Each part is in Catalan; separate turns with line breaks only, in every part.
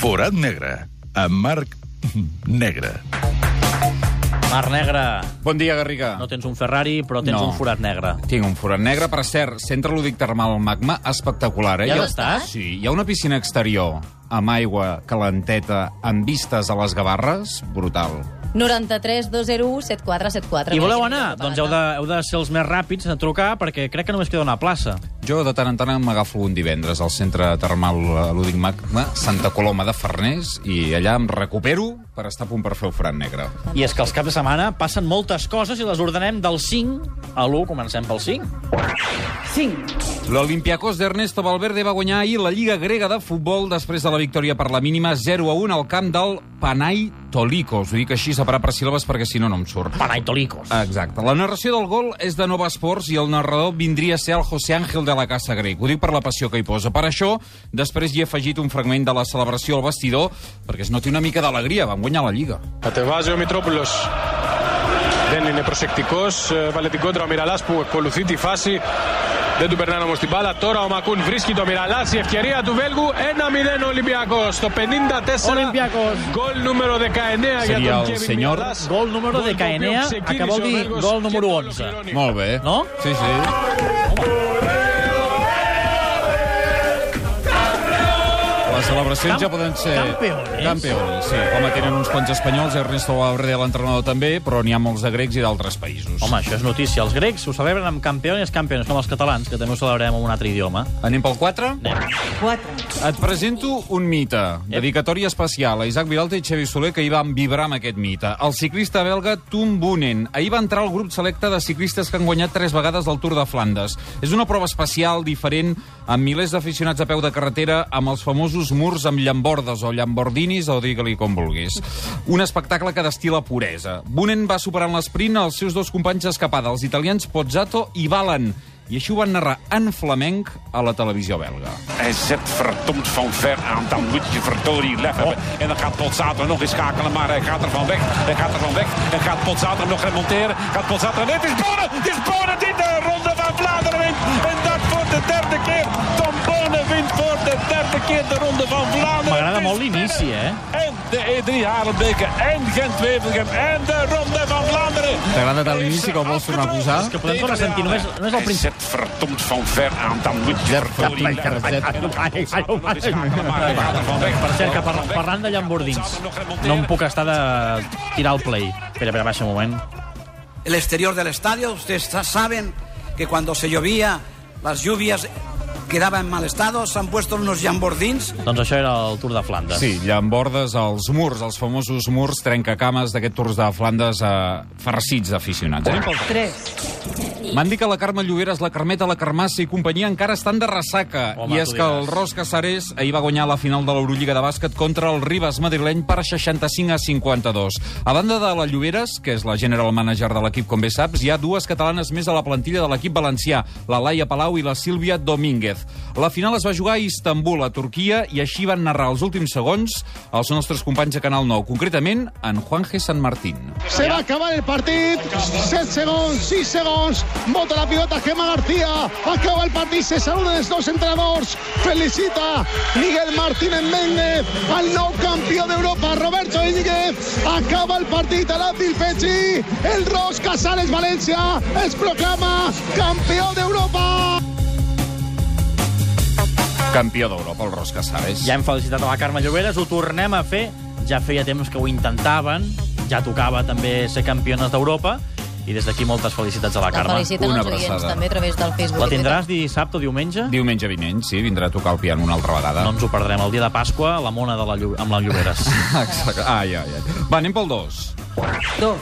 Forat negre, amb Marc Negre.
Mar Negre,
Bon dia, Garriga.
no tens un Ferrari, però tens
No.
un forat negre.
Tinc un forat negre, per cert, centre lúdic termal al magma espectacular. Eh?
Ja
Hi ha-
estàs?
Sí, hi ha una piscina exterior amb aigua calenteta, amb vistes a les Gavarres, brutal.
93 201 7474.
I voleu anar? Doncs heu de, heu de ser els més ràpids a trucar, perquè crec que només queda una plaça.
Jo de tant en tant m'agafo un divendres al centre termal eh, lúdic magma Santa Coloma de Farners i allà em recupero per estar a punt per fer el forat negre.
I és que els caps de setmana passen moltes coses i les ordenem del 5 a l'1. Comencem pel 5.
L'Olimpiakos d'Ernesto Valverde va guanyar ahir la Lliga Grega de Futbol després de la victòria per la mínima 0-1 al camp del Panay Tolikos. Ho dic així separat per síl·labes perquè si no, no em surt.
Panaitolicos.
Exacte. La narració del gol és de Nova Esports i el narrador vindria a ser el José Ángel de la Casa Grec. Ho dic per la passió que hi posa. Per això, després hi he afegit un fragment de la celebració al vestidor perquè es noti una mica d'alegria. Van guanyar la Lliga.
Κατεβάζει ο Μητρόπουλος. Δεν είναι προσεκτικός. Ε, Βάλε την κόντρα ο Μυραλάς που ακολουθεί τη φάση. Δεν του περνάνε όμως την μπάλα. Τώρα ο Μακούν βρίσκει το Μυραλάς. Η ευκαιρία του Βέλγου 1-0 Ολυμπιακός. Το 54.
Ολυμπιακός.
Γκολ νούμερο 19 για
Seria
τον
el
Κέβιν
senyor
Μυραλάς.
Γκολ νούμερο
Γκολ το οποίο
19,
ξεκίνησε
acabó
ο
de-
Βέλγος
γκολ
και
νούμερο
το
11.
ολοκληρώνει.
Molt bé.
No?
Sí, sí. Les celebracions
Camp-
ja poden ser...
campeones.
Campeones, sí. Home, tenen uns quants espanyols, Ernesto Valverde, l'entrenador també, però n'hi ha molts de grecs i d'altres països.
Home, això és notícia. Els grecs ho celebren amb campions i campions, com els catalans, que també ho celebrem en un altre idioma.
Anem pel 4?
Anem.
Et presento un mite. Dedicatòria especial a Isaac Vilalta i Xavi Soler, que hi van vibrar amb aquest mite. El ciclista belga Tom Boonen. Ahir va entrar al grup selecte de ciclistes que han guanyat tres vegades el Tour de Flandes. És una prova especial, diferent, amb milers d'aficionats a peu de carretera, amb els famosos murs amb llambordes o llambordinis, o digue-li com vulguis. Un espectacle que destila puresa. Boonen va superant l'esprint als seus dos companys d'escapada, els italians Pozzato i Valen. I així ho van narrar en flamenc a la televisió belga.
Hij zet verdomd van ver aan. Dan moet je verdorie lef hebben. En dan gaat Potsater nog eens schakelen. Maar hij gaat er van weg. Hij gaat er van weg. En gaat Potsater nog remonteren. Gaat Potsater... En het is Bonen! Het is Bonen die de ronde van Vlaanderen wint. En dat voor de derde keer. Tom Bonen wint voor de derde keer de ronde van Vlaanderen.
M'agrada
Het is
molt l'inici, eh?
En de E3 Haarlembeke en Gent-Wevelgem en de ronde van Vlaanderen.
T'agrada tant l'inici que ho vols tornar a posar?
És que podem tornar a sentir només, només el
Hij
principi.
zet verdomd van ver aan, dan moet je verdorie
Zet, zet,
leggen.
zet.
En dan gaat Potsater nog eens schakelen, maar hij gaat er van weg.
Per cert, que par parlant de llambordins, no em puc estar de tirar el play. Espera, espera, baixa un moment.
el exterior del estadio. Ustedes sa- saben que cuando se llovía, las lluvias quedaban en mal estado. Se han puesto unos jambordins
Doncs això era el Tour de Flandes.
Sí, llambordes als murs, els famosos murs trencacames d'aquest Tours de Flandes eh, farcits d'aficionats. Eh?
3.
M'han dit que la Carme Lloberes, la Carmeta, la Carmassa i companyia encara estan de ressaca.
Home,
I és
tu
que el
diràs.
Ros Casares ahir va guanyar la final de l'Eurolliga de bàsquet contra el Ribas madrileny per 65 a 52. A banda de la Lloberes, que és la general manager de l'equip, com bé saps, hi ha dues catalanes més a la plantilla de l'equip valencià, la Laia Palau i la Sílvia Domínguez. La final es va jugar a Istanbul, a Turquia, i així van narrar els últims segons els nostres companys de Canal 9, concretament en Juanje San Martín.
Se va a acabar el partido. 7 segons, 6 segons. Bota la pilota Gemma García. Acaba el partido. Se saluda dels dos entrenadores. Felicita Miguel Martínez Méndez al nou campeón de Europa, Roberto Íñiguez. Acaba el partido. Lápiz Fechi. El Ros Casales Valencia es proclama campeón de Europa.
Campió d'Europa, el Ros Casares.
Ja hem felicitat a la Carme Lloberes, ho tornem a fer. Ja feia temps que ho intentaven, ja tocava també ser campiones d'Europa, i des d'aquí moltes felicitats a la
La
Carme.
feliciten
una
els oients
abraçada.
també a través del Facebook.
La tindràs dissabte o diumenge?
Diumenge vinent, sí, vindrà a tocar el piano una altra vegada.
No ens ho perdrem. El dia de Pasqua, la mona de la Llo amb la Lloberes.
Ah, Exacte. Ai, ai, ai. Va, anem pel 2.
2.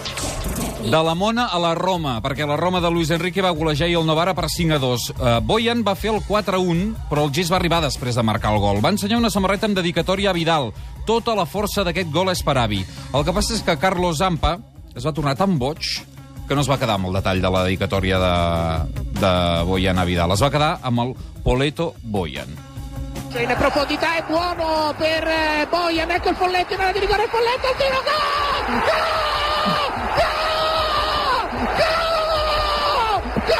De la Mona a la Roma, perquè la Roma de Luis Enrique va golejar i el Novara per 5 a 2. Uh, Boyan va fer el 4 a 1, però el gest va arribar després de marcar el gol. Va ensenyar una samarreta amb dedicatòria a Vidal. Tota la força d'aquest gol és per Avi. El que passa és que Carlos Zampa es va tornar tan boig que no es va quedar amb el detall de la dedicatòria de, de Boyan a Vidal. Es va quedar amb el Poleto Boyan.
In profondità è buono per eh, Bojan, ecco il folletto in area di rigore, il folletto, il tiro, gol! Gol! Gol! Gol! Gol!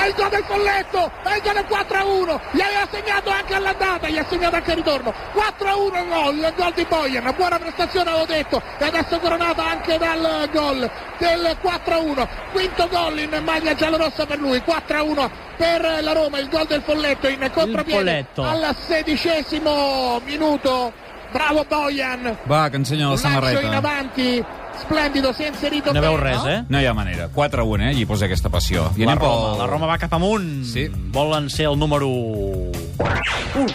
Al il gol del Folletto, è il gol del 4-1, gli aveva segnato anche all'andata, gli ha segnato anche al ritorno, 4-1 gol, il gol di Boyan, buona prestazione avevo detto, e adesso coronata anche dal gol del 4-1, quinto gol in maglia giallorossa per lui, 4-1 per la Roma, il gol del Folletto in contropiede
Folletto.
al sedicesimo minuto, bravo Boyan,
Va, que ensenya la
un lancio in
samarreta.
avanti, splendido, si è inserito
No veu
bene,
res,
no?
eh?
No hi ha manera. 4-1, eh? Hi posa aquesta passió. I
La
anem pel-
Roma, la Roma va cap amunt.
Sí.
Volen ser el número... 1.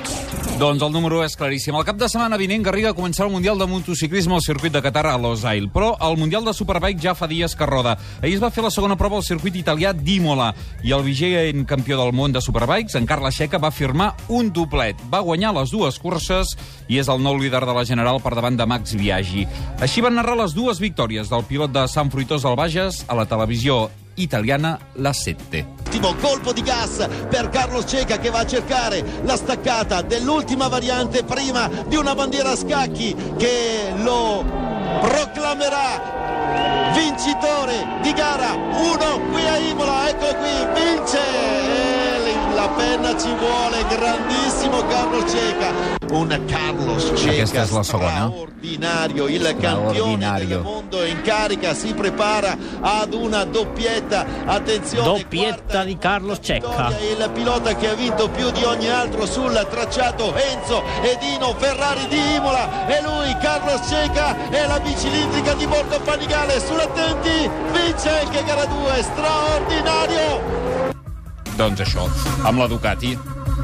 Doncs el número és claríssim. El cap de setmana vinent, Garriga començarà el Mundial de Motociclisme al circuit de Qatar a Losail, però el Mundial de Superbike ja fa dies que roda. Ahir es va fer la segona prova al circuit italià d'Imola i el vigent campió del món de Superbikes, en Carles Xeca, va firmar un doblet. Va guanyar les dues curses i és el nou líder de la General per davant de Max Biaggi. Així van narrar les dues victòries del pilot de Sant Fruitós del Bages a la televisió italiana La Sette.
Ultimo colpo di gas per Carlo Ceca che va a cercare la staccata dell'ultima variante prima di una bandiera a scacchi che lo proclamerà vincitore di gara 1 qui a Imola. Ecco qui, vince! E La penna ci vuole, grandissimo Carlo Ceca. Un Carlos
Questa
Ceca
è la seconda.
straordinario, il campione del mondo in carica si prepara ad una doppietta. Attenzione,
Doppietta
quarta
di Carlos Cecca.
vittoria, Il pilota che ha vinto più di ogni altro sul tracciato Enzo Edino Ferrari di Imola e lui Carlos Cecca e la bicilindrica di Borgo Panigale sull'attenti vince anche gara 2 straordinario
Doncs això, amb la Ducati,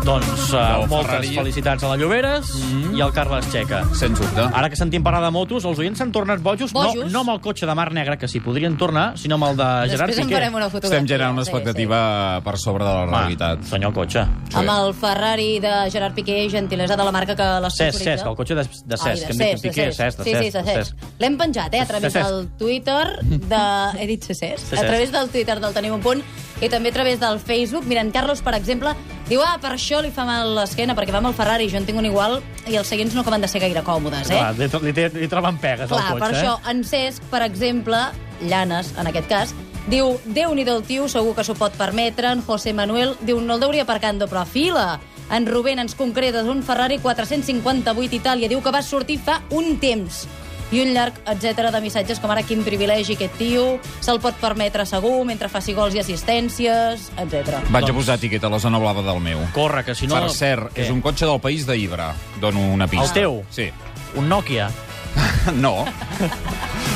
Doncs uh,
Del
moltes
Ferrari. Mm.
felicitats a la Lloberes i al Carles Checa.
sens dubte.
Ara que sentim parlar de motos, els oients s'han tornat bojos, No,
Bojos.
no amb el cotxe de Mar Negra, que s'hi podrien tornar, sinó amb el de Gerard
Després en
Piqué.
farem una fotografia.
Estem generant una
sí,
expectativa per sobre de la
Va,
realitat.
senyor el cotxe.
Sí. Amb el Ferrari de Gerard Piqué, gentilesa de la marca que
Cesc,
l'esponsoritza.
Cesc, el cotxe de, de
Ai,
Cesc, que hem dit
de
Piqué,
Cesc.
Cesc, de
Sí, sí,
Cesc.
de Cesc. L'hem penjat, eh, a través
De Cesc.
del Twitter de... He dit Cesc? eh,
De
A
Cesc.
través del Twitter del Tenim un punt i també a través del Facebook. Mira, en Carlos, per exemple, diu, ah, per això li fa mal l'esquena, perquè va amb el Ferrari, jo en tinc un igual, i els seients no acaben de ser gaire còmodes, eh?
Clar, li, li, té- li troben pegues
Clar,
al
per
cotxe, eh?
això, en Cesc, per exemple, Llanes, en aquest cas, diu, déu nhi el tio, segur que s'ho pot permetre. En José Manuel diu, no el deuria aparcando, però a fila. En Rubén ens concreta d'un Ferrari 458 Itàlia, diu que va sortir fa un temps i un llarg etc de missatges com ara quin privilegi aquest tio, se'l pot permetre segur mentre faci gols i assistències, etc.
Vaig a
Doncs-
posar etiqueta a la zona blava del meu.
eh? Corre, que si no...
Per cert,
Què?
és un cotxe del país de Ibra. Dono una pista.
El teu?
Sí.
Un Nokia.
No.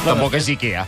Tampoc és Ikea.